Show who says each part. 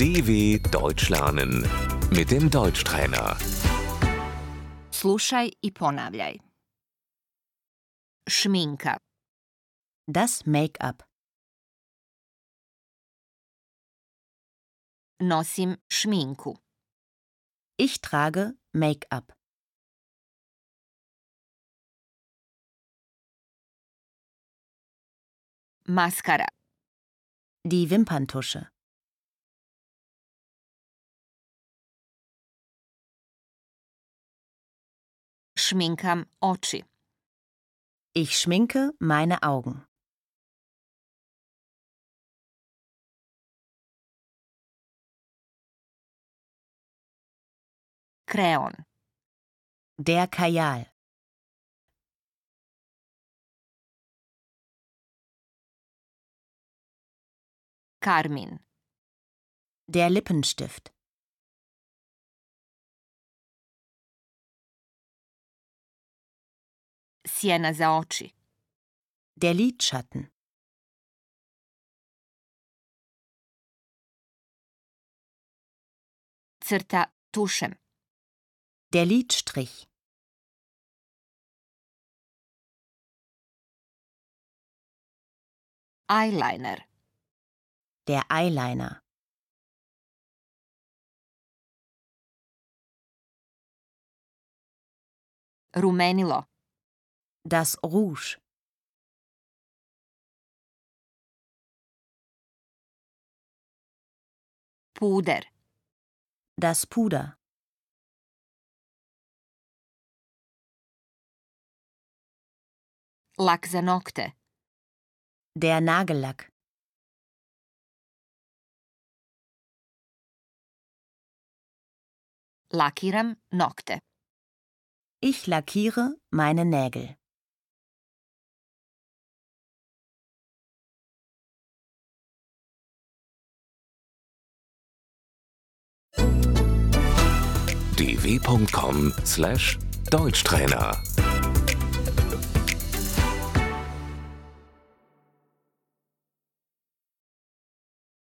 Speaker 1: DW Deutsch lernen mit dem Deutschtrainer.
Speaker 2: Slušaj i ponavljaj. Šminka,
Speaker 3: Das Make-up.
Speaker 2: nosim šminku,
Speaker 3: Ich trage Make-up.
Speaker 2: maskara,
Speaker 3: Die Wimperntusche.
Speaker 2: šminkam oči,
Speaker 3: Ich schminke meine Augen.
Speaker 2: kreon,
Speaker 3: Der Kajal.
Speaker 2: karmin,
Speaker 3: Der Lippenstift.
Speaker 2: sjena za oči,
Speaker 3: Der Lidschatten.
Speaker 2: crta tušem,
Speaker 3: Der Lidstrich.
Speaker 2: eyeliner,
Speaker 3: Der Eyeliner.
Speaker 2: rumenilo,
Speaker 3: Das Rouge.
Speaker 2: puder,
Speaker 3: Das Puder.
Speaker 2: lak za nokte,
Speaker 3: Der Nagellack.
Speaker 2: lakiram nokte,
Speaker 3: Ich lackiere meine Nägel.
Speaker 1: dw.com/deutschtrainer